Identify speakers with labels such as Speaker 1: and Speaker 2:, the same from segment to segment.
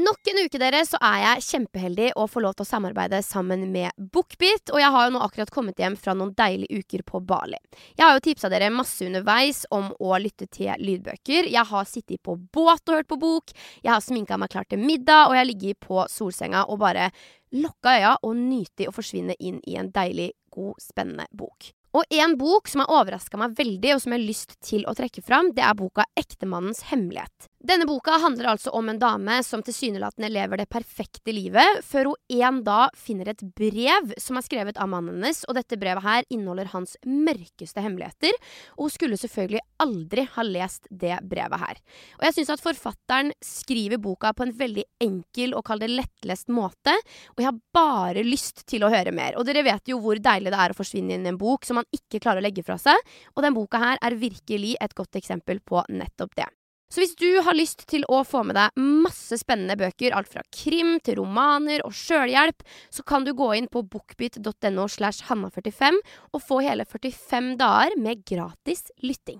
Speaker 1: Nok en uke dere, så er jeg kjempeheldig og får lov til å samarbeide sammen med Bookbeat. Og jeg har jo nå akkurat kommet hjem fra noen deilige uker på Bali. Jeg har jo tipsa dere masse underveis om å lytte til lydbøker. Jeg har sittet på båt og hørt på bok. Jeg har sminka meg klar til middag, og jeg har ligget på solsenga og bare lukka øya og nyte å forsvinne inn i en deilig, god, spennende bok. Og en bok som har overraska meg veldig, og som jeg har lyst til å trekke fram, det er boka Ektemannens hemmelighet. Denne boka handler altså om en dame som tilsynelatende lever det perfekte livet, før hun en dag finner et brev som er skrevet av mannen hennes, og dette brevet her inneholder hans mørkeste hemmeligheter, og hun skulle selvfølgelig aldri ha lest det brevet her. Og jeg syns at forfatteren skriver boka på en veldig enkel og kall det lettlest måte, og jeg har bare lyst til å høre mer. Og dere vet jo hvor deilig det er å forsvinne inn i en bok som man ikke klarer å legge fra seg, og den boka her er virkelig et godt eksempel på nettopp det. Så hvis du har lyst til å få med deg masse spennende bøker, alt fra krim til romaner og sjølhjelp, så kan du gå inn på bookbit.no slash hanna45 og få hele 45 dager med gratis lytting.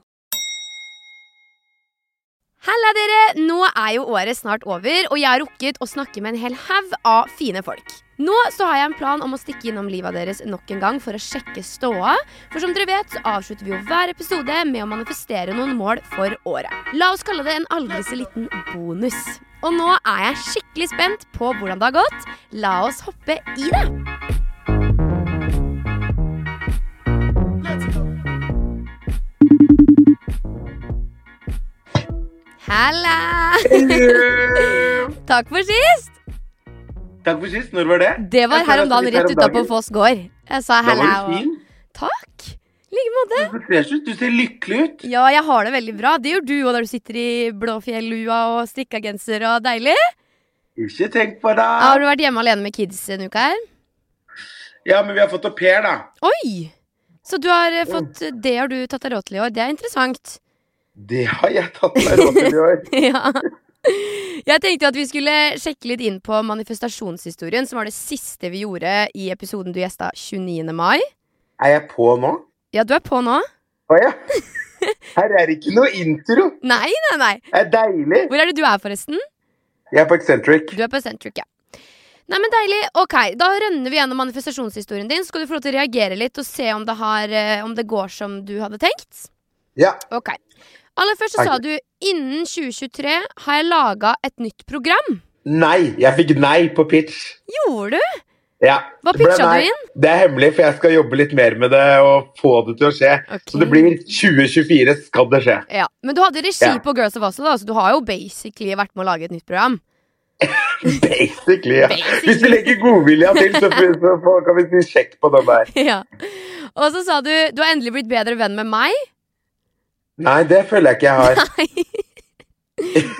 Speaker 1: Halla, dere! Nå er jo året snart over, og jeg har rukket å snakke med en hel haug av fine folk. Nå så har jeg en plan om å stikke innom livet deres nok en gang for å sjekke ståa. For som dere vet, så avslutter vi jo hver episode med å manifestere noen mål for året. La oss kalle det en aldri så liten bonus. Og nå er jeg skikkelig spent på hvordan det har gått. La oss hoppe i det! Halla! Takk for sist!
Speaker 2: Takk for sist. Når var det?
Speaker 1: Det var
Speaker 2: Jeg føler
Speaker 1: her om
Speaker 2: at
Speaker 1: dagen
Speaker 2: det er
Speaker 1: rett
Speaker 2: her om dagen.
Speaker 1: utapå Foss gård. Jeg sa
Speaker 2: Da var
Speaker 1: halla.
Speaker 2: du
Speaker 1: og-
Speaker 2: fin.
Speaker 1: Takk! I like måte.
Speaker 2: Du ser fresh ut. Du ser lykkelig ut.
Speaker 1: Ja, jeg har det veldig bra. Det gjør du òg, der du sitter i blåfjellua og strikka genser og deilig.
Speaker 2: Ikke tenk på det.
Speaker 1: Har du vært hjemme alene med kids en uke her?
Speaker 2: Ja, men vi har fått au pair, da.
Speaker 1: Oi! Så du har eh, fått det har du tatt deg råd til i år. Det er interessant.
Speaker 2: Det har jeg tatt meg råd til i år.
Speaker 1: ja. Jeg tenkte at vi skulle sjekke litt inn på manifestasjonshistorien, som var det siste vi gjorde i episoden du gjesta 29. mai.
Speaker 2: Er jeg på nå?
Speaker 1: Ja, du er på nå?
Speaker 2: Å ja. Her er det ikke noe intro.
Speaker 1: Nei, nei, nei.
Speaker 2: Det er deilig.
Speaker 1: Hvor er det du er, forresten?
Speaker 2: Jeg er på Eccentric.
Speaker 1: Du er på Centric, ja. Nei, men deilig. Ok, Da rønner vi gjennom manifestasjonshistorien din. Så skal du få lov til å reagere litt og se om det, har, eh, om det går som du hadde tenkt.
Speaker 2: Ja.
Speaker 1: Ok. Aller først så
Speaker 2: Takk.
Speaker 1: sa du innen 2023 har jeg laga et nytt program.
Speaker 2: Nei. Jeg fikk nei på pitch.
Speaker 1: Gjorde du?
Speaker 2: Ja.
Speaker 1: Hva
Speaker 2: Det ble
Speaker 1: pitcha
Speaker 2: nei.
Speaker 1: du inn?
Speaker 2: Det er hemmelig, for jeg skal jobbe litt mer med det og få det til å skje.
Speaker 1: Ok.
Speaker 2: Så det blir
Speaker 1: Mm.
Speaker 2: 2024 skal det skje.
Speaker 1: Ja, Men du hadde regi
Speaker 2: Ja.
Speaker 1: på Girls of Oslo, da, så du har jo basically vært med å lage et nytt program.
Speaker 2: Basically, ja. Hvis du legger godvilja til, så, så får- kan vi si sjekk på den der.
Speaker 1: ja. Og så sa du du har endelig blitt bedre venn med meg.
Speaker 2: Nei, det føler jeg ikke jeg har.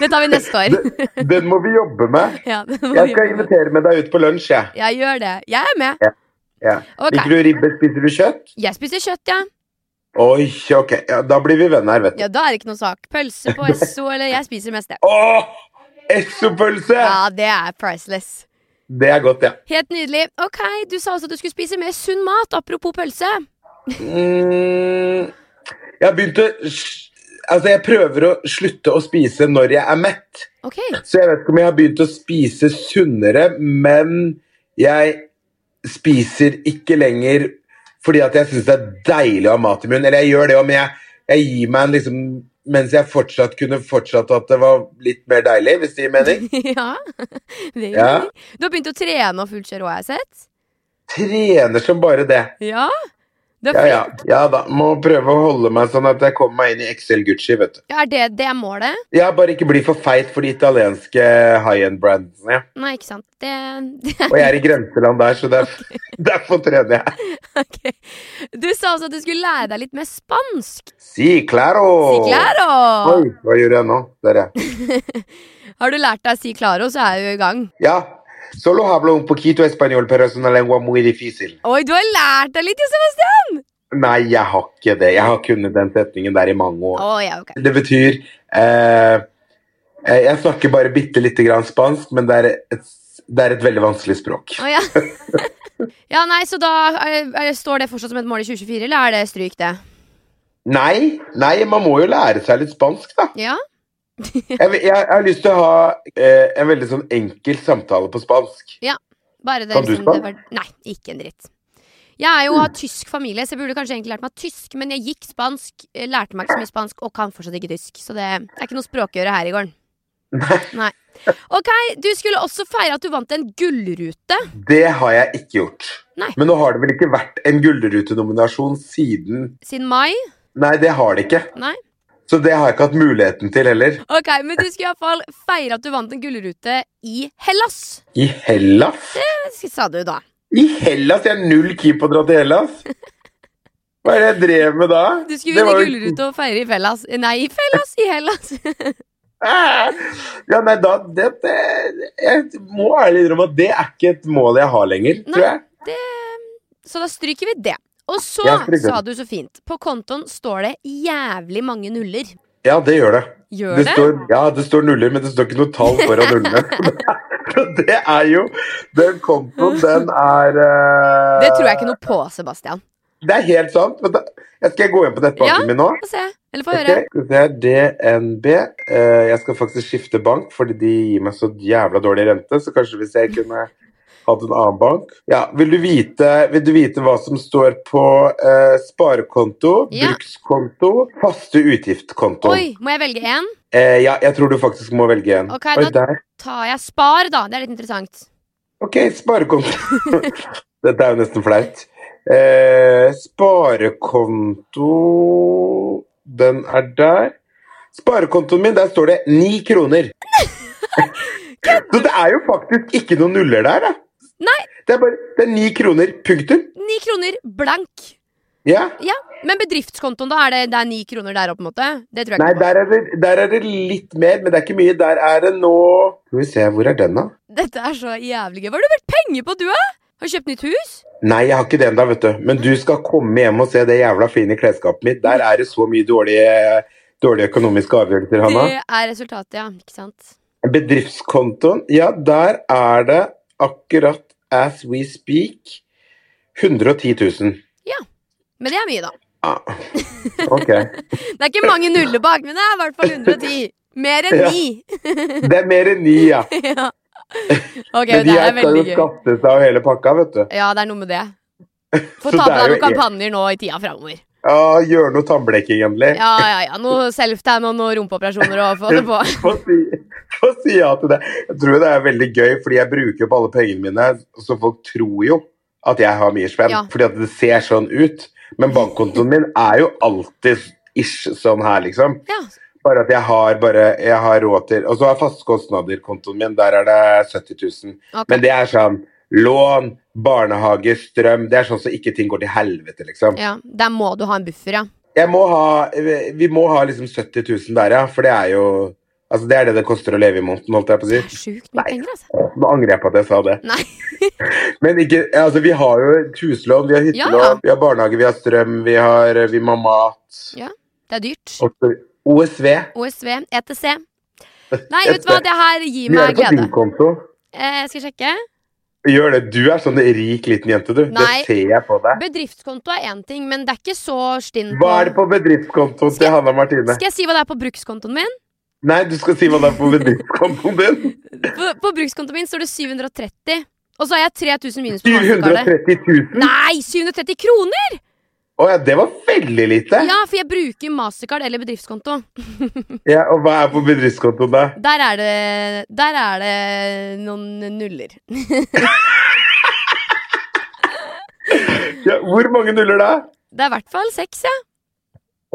Speaker 1: Det tar vi neste år.
Speaker 2: Den må vi jobbe med.
Speaker 1: ja, det må
Speaker 2: Jeg
Speaker 1: vi-
Speaker 2: skal invitere med deg ut på lunsj, jeg.
Speaker 1: Ja, gjør det. Jeg er med.
Speaker 2: Ja.
Speaker 1: Ok.
Speaker 2: Liker du ribbe? Spiser du kjøtt?
Speaker 1: Jeg spiser kjøtt, ja.
Speaker 2: Oi, ok. Ja, da blir vi venner, vet du.
Speaker 1: Ja, da er det ikke noe sak. Pølse på Esso, eller jeg spiser mest det.
Speaker 2: Åh! Essopølse!
Speaker 1: Ja, det er priceless.
Speaker 2: Det er godt, ja.
Speaker 1: Helt nydelig. Ok, du sa også at du skulle spise mer sunn mat. Apropos pølse.
Speaker 2: Mm, jeg har begynt å s- Altså, jeg prøver å slutte å spise når jeg er mett.
Speaker 1: Ok,
Speaker 2: Så jeg vet ikke om jeg har begynt å spise sunnere, men jeg spiser ikke lenger fordi at jeg syns det er deilig å ha mat i munnen. Eller jeg gjør det òg, men jeg, jeg gir meg en liksom Mens jeg fortsatt kunne fortsatt at det var litt mer deilig, hvis det gir mening.
Speaker 1: ja. Det gjør
Speaker 2: Ja.
Speaker 1: jeg. Du har begynt å trene og fullt kjør òg, har jeg sett.
Speaker 2: Trener som bare det.
Speaker 1: Ja. Du er
Speaker 2: Ja,
Speaker 1: flink.
Speaker 2: ja. ja da. Må prøve å holde meg sånn at jeg kommer meg inn i XL Gucci, vet du.
Speaker 1: Ja, Er det det er målet?
Speaker 2: Ja, bare ikke bli for feit for de italienske high end-brandene.
Speaker 1: Nei, ikke sant. Det, det
Speaker 2: Og jeg er i grenseland der, så derf derfor trener jeg.
Speaker 1: Ok. Du sa også at du skulle lære deg litt mer spansk.
Speaker 2: Si claro!
Speaker 1: Si claro!
Speaker 2: Oi, hva gjør jeg nå? Der, ja.
Speaker 1: Har du lært deg si claro, så er du i gang.
Speaker 2: Ja. Solo hablo un poquito español, pero es una lengua muy difícil.
Speaker 1: Oi, du har lært deg litt, ja, Sebastian!
Speaker 2: Nei, jeg har ikke det. Jeg har kunnet den setningen der i mange år.
Speaker 1: Å ja, ok.
Speaker 2: Det betyr eh, eh, Jeg snakker bare bitte lite grann spansk, men det er, et, det er et veldig vanskelig språk.
Speaker 1: Å ja. ja, nei, så da er, er, står det fortsatt som et mål i 2024, eller er det stryk, det?
Speaker 2: Nei, nei, man må jo lære seg litt spansk, da.
Speaker 1: Ja?
Speaker 2: Jeg, vil- jeg, jeg har lyst til å ha eh, en veldig sånn enkel samtale på spansk.
Speaker 1: Bare det,
Speaker 2: Kan du
Speaker 1: liksom, det var, nei, ikke en dritt. Jeg er jo av tysk familie, så jeg burde kanskje egentlig lært meg tysk, men jeg gikk spansk, eh, lærte meg ikke så mye spansk, og kan fortsatt ikke tysk. Så det er ikke noe språkgjøre her i gården. Nei. Ok, du skulle også feire at du vant en gullrute.
Speaker 2: Det har jeg ikke gjort.
Speaker 1: Nei.
Speaker 2: Men nå har det vel ikke vært en gullrutenominasjon siden
Speaker 1: Siden mai?
Speaker 2: Nei, det har det ikke.
Speaker 1: Nei.
Speaker 2: Så det har jeg ikke hatt muligheten til heller.
Speaker 1: Ok, men du skulle i hvert fall feire at du vant en gullrute i Hellas.
Speaker 2: I Hellas?
Speaker 1: Hva sa du da?
Speaker 2: I Hellas? Jeg er null keen på å dra til Hellas. Hva er det jeg drev med da?
Speaker 1: Du skulle vinne
Speaker 2: var jo-
Speaker 1: gullrute og feire i Fellas. Nei, i Fellas! I Hellas.
Speaker 2: Ah! Ja, nei, da det, det, Jeg må ærlig innrømme at det er ikke et mål jeg har lenger, tror
Speaker 1: Nei.
Speaker 2: jeg.
Speaker 1: Så da stryker vi det. Og så
Speaker 2: Jeg stryker
Speaker 1: sa du så fint. På kontoen står det jævlig mange nuller.
Speaker 2: Ja, det gjør det.
Speaker 1: Gjør
Speaker 2: Det
Speaker 1: det?
Speaker 2: står, ja, det står nuller, men det står ikke noe tall foran nullene. Så det er jo Den kontoen, den er eh,
Speaker 1: Det tror jeg ikke noe på, Sebastian.
Speaker 2: Det er helt sant. Men da, jeg skal gå inn på
Speaker 1: Ja,
Speaker 2: nettbanken min nå.
Speaker 1: Få se. Eller få
Speaker 2: Ok,
Speaker 1: høre.
Speaker 2: skal vi se her. DNB. Eh, jeg skal faktisk skifte bank, fordi de gir meg så jævla dårlig rente. Så kanskje hvis jeg kunne hatt en annen bank Ja, Vil du vite, vil du vite hva som står på eh, sparekonto,
Speaker 1: Ja.
Speaker 2: brukskonto, faste utgiftskonto?
Speaker 1: Oi, må jeg velge én?
Speaker 2: Eh, ja, jeg tror du faktisk må velge en.
Speaker 1: Ok,
Speaker 2: Oi,
Speaker 1: da-
Speaker 2: der.
Speaker 1: Tar jeg spar, da? Det er litt interessant.
Speaker 2: Ok, sparekonto. Dette er jo nesten flaut. Eh, sparekonto Den er der. Sparekontoen min, der står det ni kroner. Så det er jo faktisk ikke noen nuller der, da.
Speaker 1: Nei.
Speaker 2: Det er bare det er ni kroner. Punktum.
Speaker 1: Ni kroner blank.
Speaker 2: Ja.
Speaker 1: Men bedriftskontoen, da? Er det, det er ni kroner der òg, på en måte? Det tror jeg
Speaker 2: Nei,
Speaker 1: ikke.
Speaker 2: der er, det, der er det litt mer, men det er ikke mye. Der er det nå Skal vi se, hvor er den, da?
Speaker 1: på. Dette er så jævlig gøy. Hva har du brukt penger på, du, da? Har du kjøpt nytt hus?
Speaker 2: Nei, jeg har ikke det ennå, vet du. Men du skal komme hjem og se det jævla fine klesskapet mitt. Der er det så mye dårlige, dårlige økonomiske avgjørelser, Hanna.
Speaker 1: Det er resultatet, ja. Ikke sant?
Speaker 2: Bedriftskontoen, ja, der er det akkurat as we speak 110 000.
Speaker 1: Men det er mye, da.
Speaker 2: Ah, ok.
Speaker 1: Det er ikke mange nuller bak, men det er i hvert fall 110. Mer enn
Speaker 2: Ja.
Speaker 1: ni.
Speaker 2: Det er mer enn ni, ja.
Speaker 1: ja. Ok,
Speaker 2: Men de
Speaker 1: det er
Speaker 2: her skal jo
Speaker 1: veldig gøy.
Speaker 2: skatte seg av hele pakka, vet du.
Speaker 1: Ja, det er noe med det. Få ta
Speaker 2: Så
Speaker 1: på
Speaker 2: det er
Speaker 1: deg
Speaker 2: jo
Speaker 1: noen kampanjer nå i tida framover.
Speaker 2: Ja, gjør noe tannblekking, endelig.
Speaker 1: Ja, ja, ja. Noe self-tan og noen rumpeoperasjoner og få det på.
Speaker 2: Få si, få si ja til det. Jeg tror det er veldig gøy, fordi jeg bruker opp alle pengene mine, så folk tror jo at jeg har mye spenn,
Speaker 1: Ja.
Speaker 2: fordi at det ser sånn ut. Men bankkontoen min er jo alltid ish sånn her, liksom.
Speaker 1: Ja.
Speaker 2: Bare at jeg har, bare, jeg har råd til Og så har jeg faste kostnader, kontoen min, der er det 70 000.
Speaker 1: ok.
Speaker 2: Men det er sånn lån, barnehage, strøm Det er sånn så ikke ting går til helvete, liksom.
Speaker 1: ja. Der må du ha en buffer, ja.
Speaker 2: Jeg må ha, vi må ha liksom 70 000 der, ja. For det er jo Altså, det er det det koster å leve i måneden, holdt jeg på å si.
Speaker 1: Det er sjukt mye
Speaker 2: Nei.
Speaker 1: penger, altså.
Speaker 2: Nå angrer jeg på at jeg sa det.
Speaker 1: Nei.
Speaker 2: Men ikke, altså, vi har jo huslån, vi har hyttelån,
Speaker 1: Ja, ja.
Speaker 2: vi har barnehage, vi har strøm, vi, har, vi må ha mat.
Speaker 1: Det er dyrt.
Speaker 2: Og så- OSV.
Speaker 1: OSV, ETC. E Nei, vet du hva, det her gir
Speaker 2: Vi har
Speaker 1: meg
Speaker 2: det på
Speaker 1: glede.
Speaker 2: din konto.
Speaker 1: Eh, skal jeg sjekke?
Speaker 2: Gjør det. Du er sånn rik liten jente, du.
Speaker 1: Nei.
Speaker 2: Det ser jeg på deg.
Speaker 1: Bedriftskonto er én ting, men det er ikke så stinn
Speaker 2: Hva er det på bedriftskontoen
Speaker 1: Skal
Speaker 2: til
Speaker 1: jeg-
Speaker 2: Hanna Martine?
Speaker 1: Skal jeg si hva det er på brukskontoen min?
Speaker 2: Nei, du skal si hva det er på bedriftskontoen din.
Speaker 1: På, på brukskontoen min står det 730. Og så har jeg 3000 minus på mastercardet.
Speaker 2: 430 000?
Speaker 1: Nei, 730 kroner!
Speaker 2: Å ja, det var veldig lite.
Speaker 1: Ja, for jeg bruker mastercard eller bedriftskonto.
Speaker 2: Ja, og hva er på bedriftskontoen, da?
Speaker 1: Der er det, der er det noen nuller.
Speaker 2: Ja, hvor mange nuller da?
Speaker 1: Det er i hvert fall seks, ja.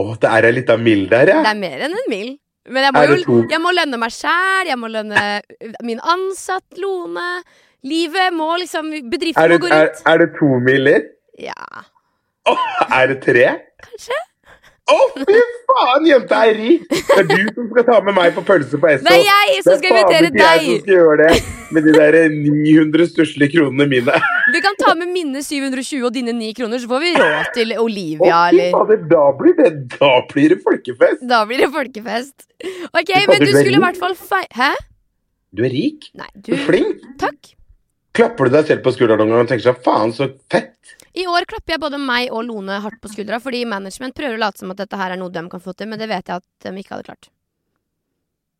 Speaker 2: Å, det er ei lita mild der,
Speaker 1: Det
Speaker 2: ja.
Speaker 1: er mer enn en mil. Men jeg må,
Speaker 2: Er det
Speaker 1: jo,
Speaker 2: to?
Speaker 1: jeg må lønne meg sjæl, jeg må lønne min ansatt, Lone. Livet må liksom Bedriften
Speaker 2: Er
Speaker 1: må
Speaker 2: det,
Speaker 1: gå
Speaker 2: er,
Speaker 1: rundt.
Speaker 2: er det to miller?
Speaker 1: Ja.
Speaker 2: Å, er det tre?
Speaker 1: Kanskje.
Speaker 2: Å, fy faen, jenta er rik! Det er du som skal ta med meg på pølse på Esso.
Speaker 1: Det er jeg som skal invitere
Speaker 2: Det er faen ikke jeg som
Speaker 1: deg!
Speaker 2: skal gjøre det med de der 900 stusslige kronene mine.
Speaker 1: Vi kan ta med mine 720 og dine 9 kroner, så får vi råd til
Speaker 2: Å,
Speaker 1: Olivia,
Speaker 2: fy
Speaker 1: eller
Speaker 2: fader, da blir det Da blir det folkefest!
Speaker 1: Da blir det folkefest. Ok,
Speaker 2: Du
Speaker 1: men
Speaker 2: kan
Speaker 1: du
Speaker 2: ikke
Speaker 1: skulle i
Speaker 2: velge.
Speaker 1: hvert fall fei... Hæ?
Speaker 2: Du er rik,
Speaker 1: Nei,
Speaker 2: du
Speaker 1: du
Speaker 2: er flink.
Speaker 1: Takk.
Speaker 2: Klapper du deg selv på skulderen noen gang og tenker sånn faen, så fett?
Speaker 1: I år klapper jeg både meg og Lone hardt på skuldra, fordi management prøver å late som at dette her er noe de kan få til, men det vet jeg at de ikke hadde klart.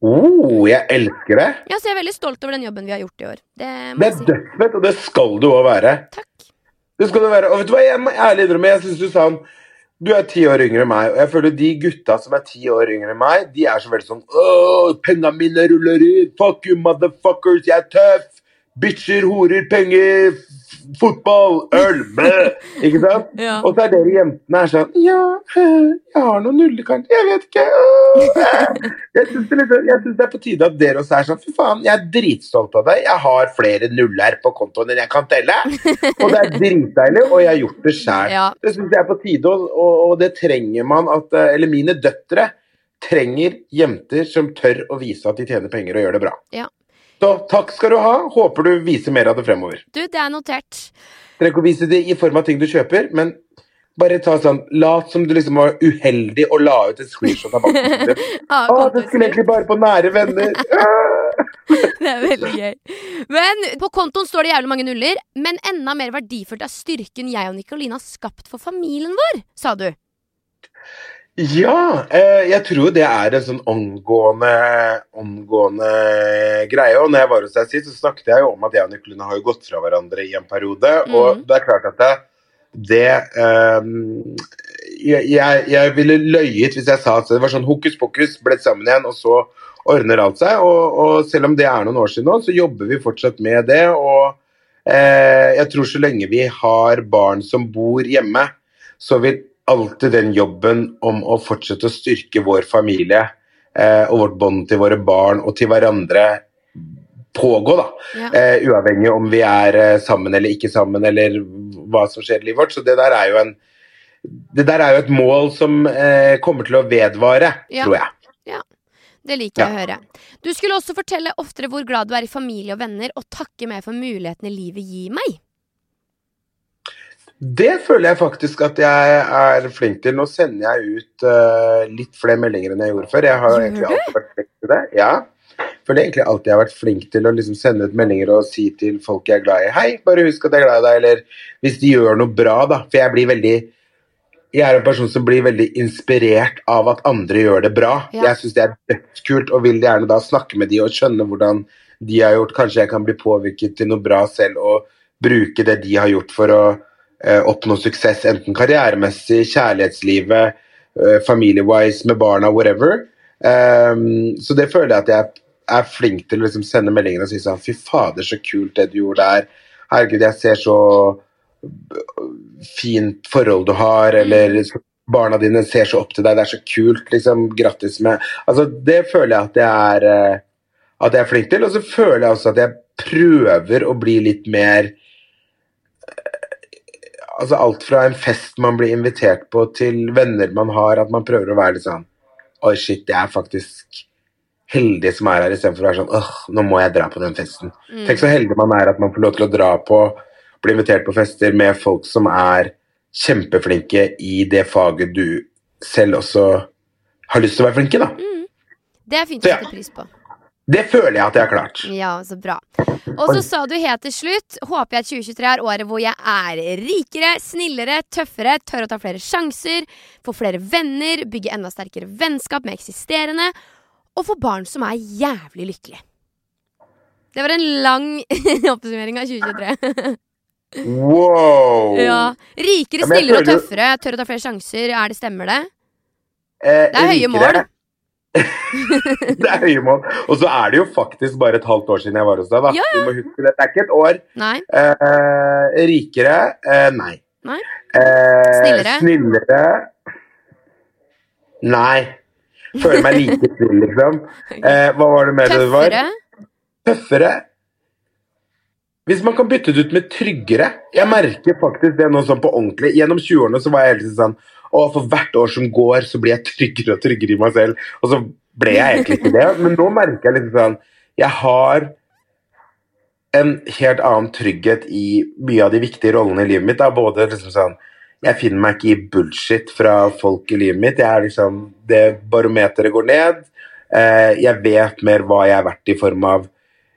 Speaker 2: Oh, jeg elsker det!
Speaker 1: Ja, så jeg er veldig stolt over den jobben vi har gjort i år. Det Eh, må
Speaker 2: Det
Speaker 1: jeg
Speaker 2: er
Speaker 1: si.
Speaker 2: dødsfett, og det skal du òg være.
Speaker 1: Takk.
Speaker 2: Det skal du være. Og vet du hva, jeg må ærlig innrømme, jeg syns du sa han Du er ti år yngre enn meg, og jeg føler de gutta som er ti år yngre enn meg, de er så veldig sånn Åh, penna mine ruller ut, fuck you motherfuckers, jeg er tøff! Bitcher, horer, penger, f- fotball, øl, blæ! Ikke sant?
Speaker 1: Ja.
Speaker 2: Og så er dere jentene er sånn Ja, øh, jeg har noen nuller, kanskje. Jeg vet ikke. Åh, øh. Jeg syns det, er litt- jeg synes det er på tide at dere også er sånn Fy faen, jeg er dritstolt av deg. Jeg har flere nuller på kontoen enn jeg kan telle. Og det er dritdeilig, og jeg har gjort det sjæl.
Speaker 1: Ja.
Speaker 2: Det syns jeg er på tide, og, og, og det trenger man at eh, Eller mine døtre trenger jenter som tør å vise at de tjener penger og gjør det bra.
Speaker 1: Ja.
Speaker 2: Så takk skal du ha. Håper du viser mer av det fremover.
Speaker 1: Du, det er notert.
Speaker 2: Trenger ikke å vise det i form av ting du kjøper, men bare ta sånn Lat som du liksom var uheldig og la ut et screenshot av banken din.
Speaker 1: Ah,
Speaker 2: Å, det skulle egentlig bare på nære venner. Ah.
Speaker 1: Det er veldig gøy. Men på kontoen står det jævlig mange nuller. Men enda mer verdifullt er styrken jeg og Nicoline har skapt for familien vår, sa du.
Speaker 2: Ja, eh, jeg tror det er en sånn omgående, omgående greie. Og når jeg var hos deg sist, så snakket jeg jo om at jeg og Nicoline har jo gått fra hverandre i en periode. Og det er klart at det, det eh, jeg, jeg, jeg ville løyet hvis jeg sa at det var sånn hokus pokus, ble sammen igjen, og så ordner alt seg. Og, og selv om det er noen år siden nå, så jobber vi fortsatt med det. Og eh, jeg tror så lenge vi har barn som bor hjemme, så vil alltid den jobben om å fortsette å styrke vår familie eh, og vårt bånd til våre barn og til hverandre pågå, da.
Speaker 1: Ja.
Speaker 2: Eh, uavhengig om vi er eh, sammen eller ikke sammen, eller hva som skjer i livet vårt. Så det der er jo en det der er jo et mål som eh, kommer til å vedvare,
Speaker 1: Ja.
Speaker 2: tror jeg.
Speaker 1: Det liker jeg å høre. Du skulle også fortelle oftere hvor glad du er i familie og venner, og takke meg for mulighetene livet gir meg.
Speaker 2: Det føler jeg faktisk at jeg er flink til. Nå sender jeg ut eh, litt flere meldinger enn jeg gjorde før. Jeg har jo
Speaker 1: Gjør
Speaker 2: egentlig alltid vært flink til det. Ja. Føler egentlig alltid jeg har vært flink til å liksom sende ut meldinger og si til folk jeg er glad i Hei, bare husk at jeg er glad i deg, eller hvis de gjør noe bra, da. For jeg blir veldig jeg er en person som blir veldig inspirert av at andre gjør det bra.
Speaker 1: Ja.
Speaker 2: Jeg syns det er dødskult og vil gjerne da snakke med de og skjønne hvordan de har gjort. Kanskje jeg kan bli påvirket til noe bra selv og bruke det de har gjort for å eh, oppnå suksess, enten karrieremessig, kjærlighetslivet, eh, familiewise med barna, whatever. Ehm, så det føler jeg at jeg er flink til å liksom sende meldinger og si sånn Fy fader, så kult det du gjorde der. Herregud, jeg ser så fint forhold du har, eller barna dine ser så opp til deg, det er så kult, liksom, grattis med Altså, det føler jeg at jeg er eh, at jeg er flink til, og så føler jeg også at jeg prøver å bli litt mer eh, Altså alt fra en fest man blir invitert på, til venner man har, at man prøver å være litt sånn Oi, shit, jeg er faktisk heldig som er her, istedenfor å være sånn Åh, nå må jeg dra på den festen.
Speaker 1: Mm.
Speaker 2: Tenk så heldig man er at man får lov til å dra på, bli invitert på fester med folk som er kjempeflinke i det faget du selv også har lyst til å være flink i, da.
Speaker 1: Mm. Det er fint å
Speaker 2: Så ja.
Speaker 1: sette pris på.
Speaker 2: Det føler jeg at jeg har klart.
Speaker 1: Ja, så bra. Og så sa du helt til slutt Håper jeg 2023 er året hvor jeg er rikere, snillere, tøffere, tør å ta flere sjanser, får flere venner, bygge enda sterkere vennskap med eksisterende, og få barn som er jævlig lykkelige. Det var en lang oppsummering av 2023.
Speaker 2: Wow!
Speaker 1: ja. Rikere,
Speaker 2: Ja, men jeg
Speaker 1: snillere og
Speaker 2: føler-
Speaker 1: tøffere, tør å ta flere sjanser. Er det stemmer det?
Speaker 2: Eh,
Speaker 1: Det er høye mål.
Speaker 2: rikere. det er høye mål. Og så er det jo faktisk bare et halvt år siden jeg var hos deg. da.
Speaker 1: Ja,
Speaker 2: Du må huske det. det er ikke et år.
Speaker 1: Nei?
Speaker 2: Eh, rikere? Eh, nei.
Speaker 1: Nei.
Speaker 2: Eh,
Speaker 1: Snillere?
Speaker 2: Snillere? Nei. Føler meg like snill, liksom. Eh, hva var det mer det var?
Speaker 1: Tøffere?
Speaker 2: Tøffere? Hvis man kan bytte det ut med tryggere Jeg merker faktisk det nå sånn på ordentlig. Gjennom 20-årene så var jeg helt sånn Og for hvert år som går, så blir jeg tryggere og tryggere i meg selv. Og så ble jeg egentlig ikke det. Men nå merker jeg liksom sånn Jeg har en helt annen trygghet i mye av de viktige rollene i livet mitt. Da. Både liksom sånn Jeg finner meg ikke i bullshit fra folk i livet mitt. Jeg er liksom Det barometeret går ned. Eh, jeg vet mer hva jeg er verdt i form av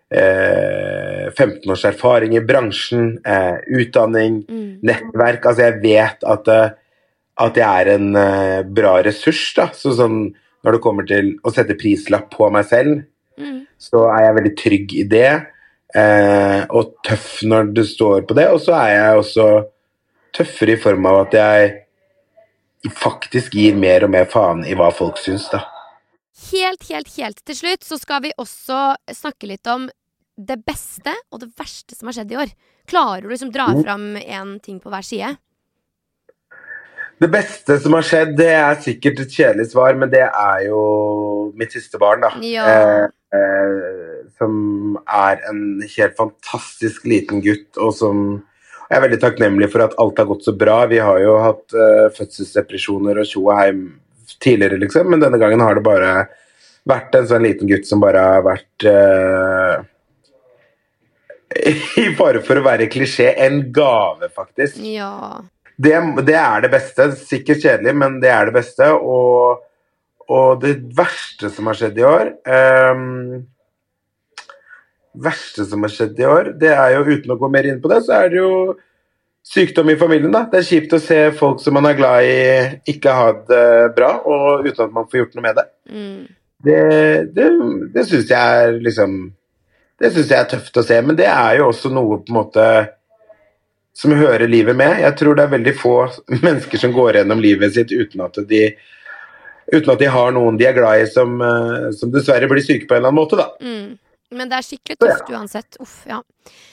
Speaker 2: eh, 15 års erfaring i bransjen, eh, utdanning,
Speaker 1: Mm.
Speaker 2: nettverk. Altså, jeg vet at, eh, at jeg er en eh, bra ressurs. Da. Så sånn, når det kommer til å sette prislapp på meg selv,
Speaker 1: Mm.
Speaker 2: så er jeg veldig trygg i det. Eh, og tøff når det står på det. Og så er jeg også tøffere i form av at jeg faktisk gir mer og mer faen i hva folk syns, da.
Speaker 1: Helt, helt, helt til slutt så skal vi også snakke litt om det beste og det verste som har skjedd i år. Klarer du liksom dra
Speaker 2: Mm.
Speaker 1: fram én ting på hver side?
Speaker 2: Det beste som har skjedd, det er sikkert et kjedelig svar, men det er jo mitt siste barn, da.
Speaker 1: Ja.
Speaker 2: Eh, eh, som er en helt fantastisk liten gutt, og som jeg er veldig takknemlig for at alt har gått så bra. Vi har jo hatt eh, fødselsdepresjoner og tjo og heim tidligere, liksom, men denne gangen har det bare vært en sånn liten gutt som bare har vært eh, I fare for å være klisjé en gave, faktisk
Speaker 1: Ja.
Speaker 2: det, det er det beste. Sikkert kjedelig, men det er det beste. Og, og det verste som har skjedd i år ehm, verste som har skjedd i år, det er jo uten å gå mer inn på det, så er det jo sykdom i familien, da. Det er kjipt å se folk som man er glad i, ikke ha det bra, og uten at man får gjort noe med det.
Speaker 1: Mm.
Speaker 2: Det, det, det syns jeg er liksom Det syns jeg er tøft å se, men det er jo også noe på en måte som hører livet med. Jeg tror det er veldig få mennesker som går gjennom livet sitt uten at de Uten at de har noen de er glad i som, eh, som dessverre blir syke på en eller annen måte, da.
Speaker 1: Mm. Men det er skikkelig
Speaker 2: Så ja.
Speaker 1: tøft uansett. Uff, ja.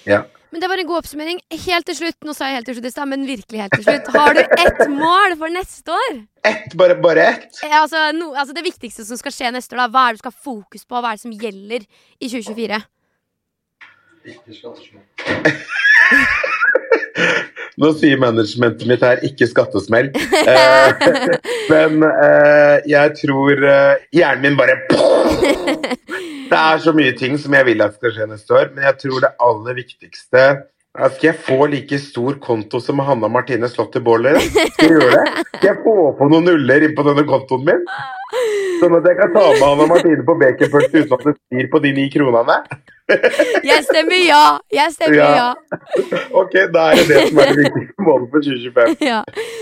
Speaker 2: Ja.
Speaker 1: Men det var en god oppsummering. Helt til slutt, nå sa jeg helt til slutt i stad, men virkelig helt til slutt. Har du ett mål for neste år?
Speaker 2: Ett, bare, bare ett.
Speaker 1: Eh, Altså, no, altså Det viktigste som skal skje neste år, da. Hva er det du skal ha fokus på? Hva er det som gjelder i 2024?
Speaker 2: Nå sier managementet mitt her 'ikke skattesmell'. Eh, men eh, jeg tror eh, hjernen min bare Det er så mye ting som jeg vil at skal skje neste år, men jeg tror det aller viktigste er Skal jeg få like stor konto som Hanna Martine Slått i Båler? Skal jeg gjøre det? Skal jeg få på noen nuller inn på denne kontoen min? Sånn at jeg kan ta med Hanna Martine på baconpølse uten at det svir på de ni kronene?
Speaker 1: Jeg stemmer ja! Jeg stemmer
Speaker 2: Ja.
Speaker 1: ja.
Speaker 2: Ok, da er det det som er det viktigste målet for 2025.
Speaker 1: ja.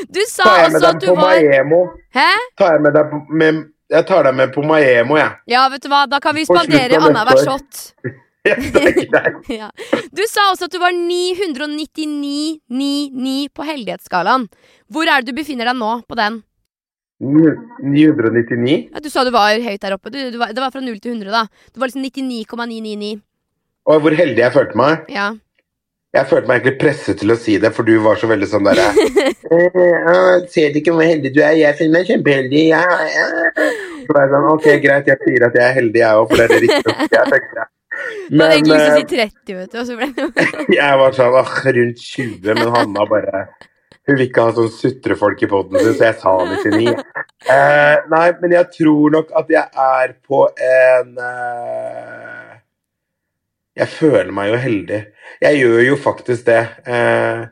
Speaker 1: Du sa
Speaker 2: Tar jeg med
Speaker 1: også at
Speaker 2: deg
Speaker 1: du
Speaker 2: på
Speaker 1: var
Speaker 2: Maemo.
Speaker 1: Hæ?
Speaker 2: Tar jeg med deg på med, Jeg tar deg med på Maemo, jeg.
Speaker 1: Ja, vet du hva, da kan vi
Speaker 2: På slutten
Speaker 1: spandere
Speaker 2: av neste
Speaker 1: annenhver
Speaker 2: år.
Speaker 1: shot.
Speaker 2: Ja, det er greit.
Speaker 1: Ja. Du sa også at du var 999,99 på heldighetsskalaen. Hvor er det du befinner deg nå på den?
Speaker 2: 999.
Speaker 1: Ja, du sa du var høyt der oppe. Du, du var, det var fra 0 til 100, da. Du var liksom 99,999.
Speaker 2: Og hvor heldig jeg følte meg.
Speaker 1: Ja.
Speaker 2: Jeg følte meg egentlig presset til å si det, for du var så veldig sånn derre eh, eh, Ser du ikke hvor heldig du er? Jeg finner meg kjempeheldig. Ja, ja. Så var jeg sånn, ok, greit, jeg sier at jeg er heldig, jeg òg, for det er det riktige. Jeg tenkte.
Speaker 1: Du hadde
Speaker 2: Men
Speaker 1: egentlig lyst til å
Speaker 2: eh,
Speaker 1: si 30, vet du. Og så ble det
Speaker 2: jeg var sånn åh, rundt 20, men Hanna bare Hun vil ikke ha sånn sutrefolk i poden sin, så jeg sa 99. Eh, nei, men jeg tror nok at jeg er på en eh, Jeg føler meg jo heldig. Jeg gjør jo faktisk det. Eh,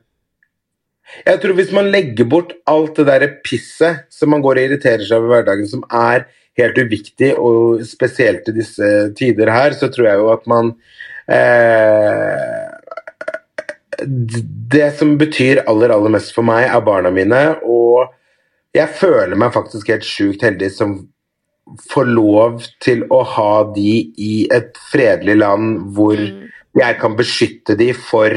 Speaker 2: jeg tror hvis man legger bort alt det derre pisset som man går og irriterer seg over i hverdagen, som er helt uviktig, og spesielt i disse tider her, så tror jeg jo at man eh, d- Det som betyr aller, aller mest for meg, er barna mine, og jeg føler meg faktisk helt sjukt heldig som får lov til å ha de i et fredelig land hvor
Speaker 1: Mm.
Speaker 2: jeg kan beskytte de for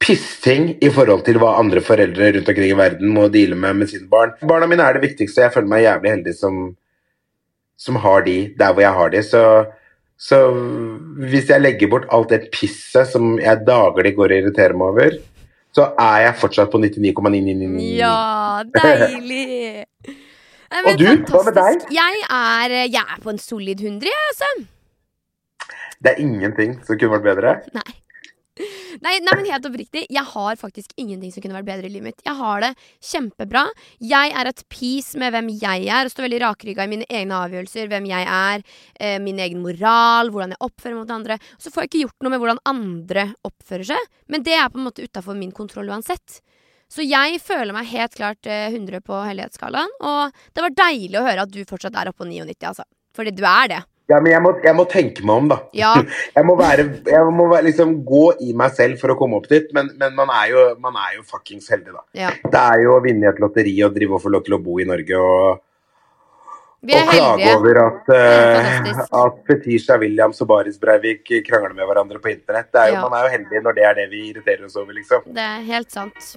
Speaker 2: pissting i forhold til hva andre foreldre rundt omkring i verden må deale med med sine barn. Barna mine er det viktigste, og jeg føler meg jævlig heldig som, som har de der hvor jeg har de. Så, så hvis jeg legger bort alt det pisset som jeg daglig går og irriterer meg over, så er jeg fortsatt på 99,999.
Speaker 1: Ja, deilig! Nei, men
Speaker 2: Og du, hva med
Speaker 1: fantastisk. Jeg er, eh, jeg er på en solid 100, jeg, altså.
Speaker 2: Det er ingenting som kunne vært bedre.
Speaker 1: Nei. Nei, nei, men helt oppriktig. Jeg har faktisk ingenting som kunne vært bedre i livet mitt. Jeg har det kjempebra. Jeg er at peace med hvem jeg er, og står veldig rakrygga i mine egne avgjørelser. Hvem jeg er, eh, min egen moral, hvordan jeg oppfører meg mot andre. Så får jeg ikke gjort noe med hvordan andre oppfører seg, men det er på en måte utafor min kontroll uansett. Så jeg føler meg helt klart eh, 100 på hellighetsskalaen, og det var deilig å høre at du fortsatt er oppe på 99, altså. Fordi du er det.
Speaker 2: Ja, men jeg må, jeg må tenke meg om, da.
Speaker 1: Ja.
Speaker 2: Jeg må, være, jeg må være, liksom gå i meg selv for å komme opp dit, men, men man, er jo, man er jo fuckings heldig, da.
Speaker 1: ja.
Speaker 2: Det er jo å vinne i et lotteri og drive og få lov til å bo i Norge og,
Speaker 1: Vi er
Speaker 2: og klage
Speaker 1: heldige.
Speaker 2: over at, eh,
Speaker 1: fantastisk.
Speaker 2: at Fetisha Williams og Baris Breivik krangler med hverandre på internett. Det er jo,
Speaker 1: Ja.
Speaker 2: Man er jo heldig når det er det vi irriterer oss over, liksom.
Speaker 1: Det er helt sant.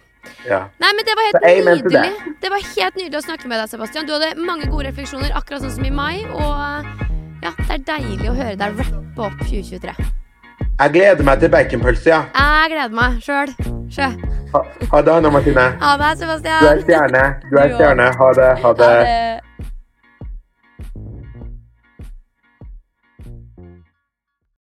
Speaker 2: Ja.
Speaker 1: Nei, men det var
Speaker 2: Så
Speaker 1: helt
Speaker 2: amen to
Speaker 1: nydelig. Det var helt nydelig å snakke med deg, Sebastian. Du hadde mange gode refleksjoner, akkurat sånn som i mai. Og eh, ja, det er deilig å høre deg rappe opp 2023.
Speaker 2: Jeg gleder meg til baconpølse, ja.
Speaker 1: Jeg gleder meg sjøl. Sjø.
Speaker 2: Ha, ha det, Hanna Martine.
Speaker 1: Ha det,
Speaker 2: Du er
Speaker 1: Sebastian.
Speaker 2: stjerne. Du er
Speaker 1: Du også.
Speaker 2: stjerne. Ha det. Ha det.
Speaker 1: det.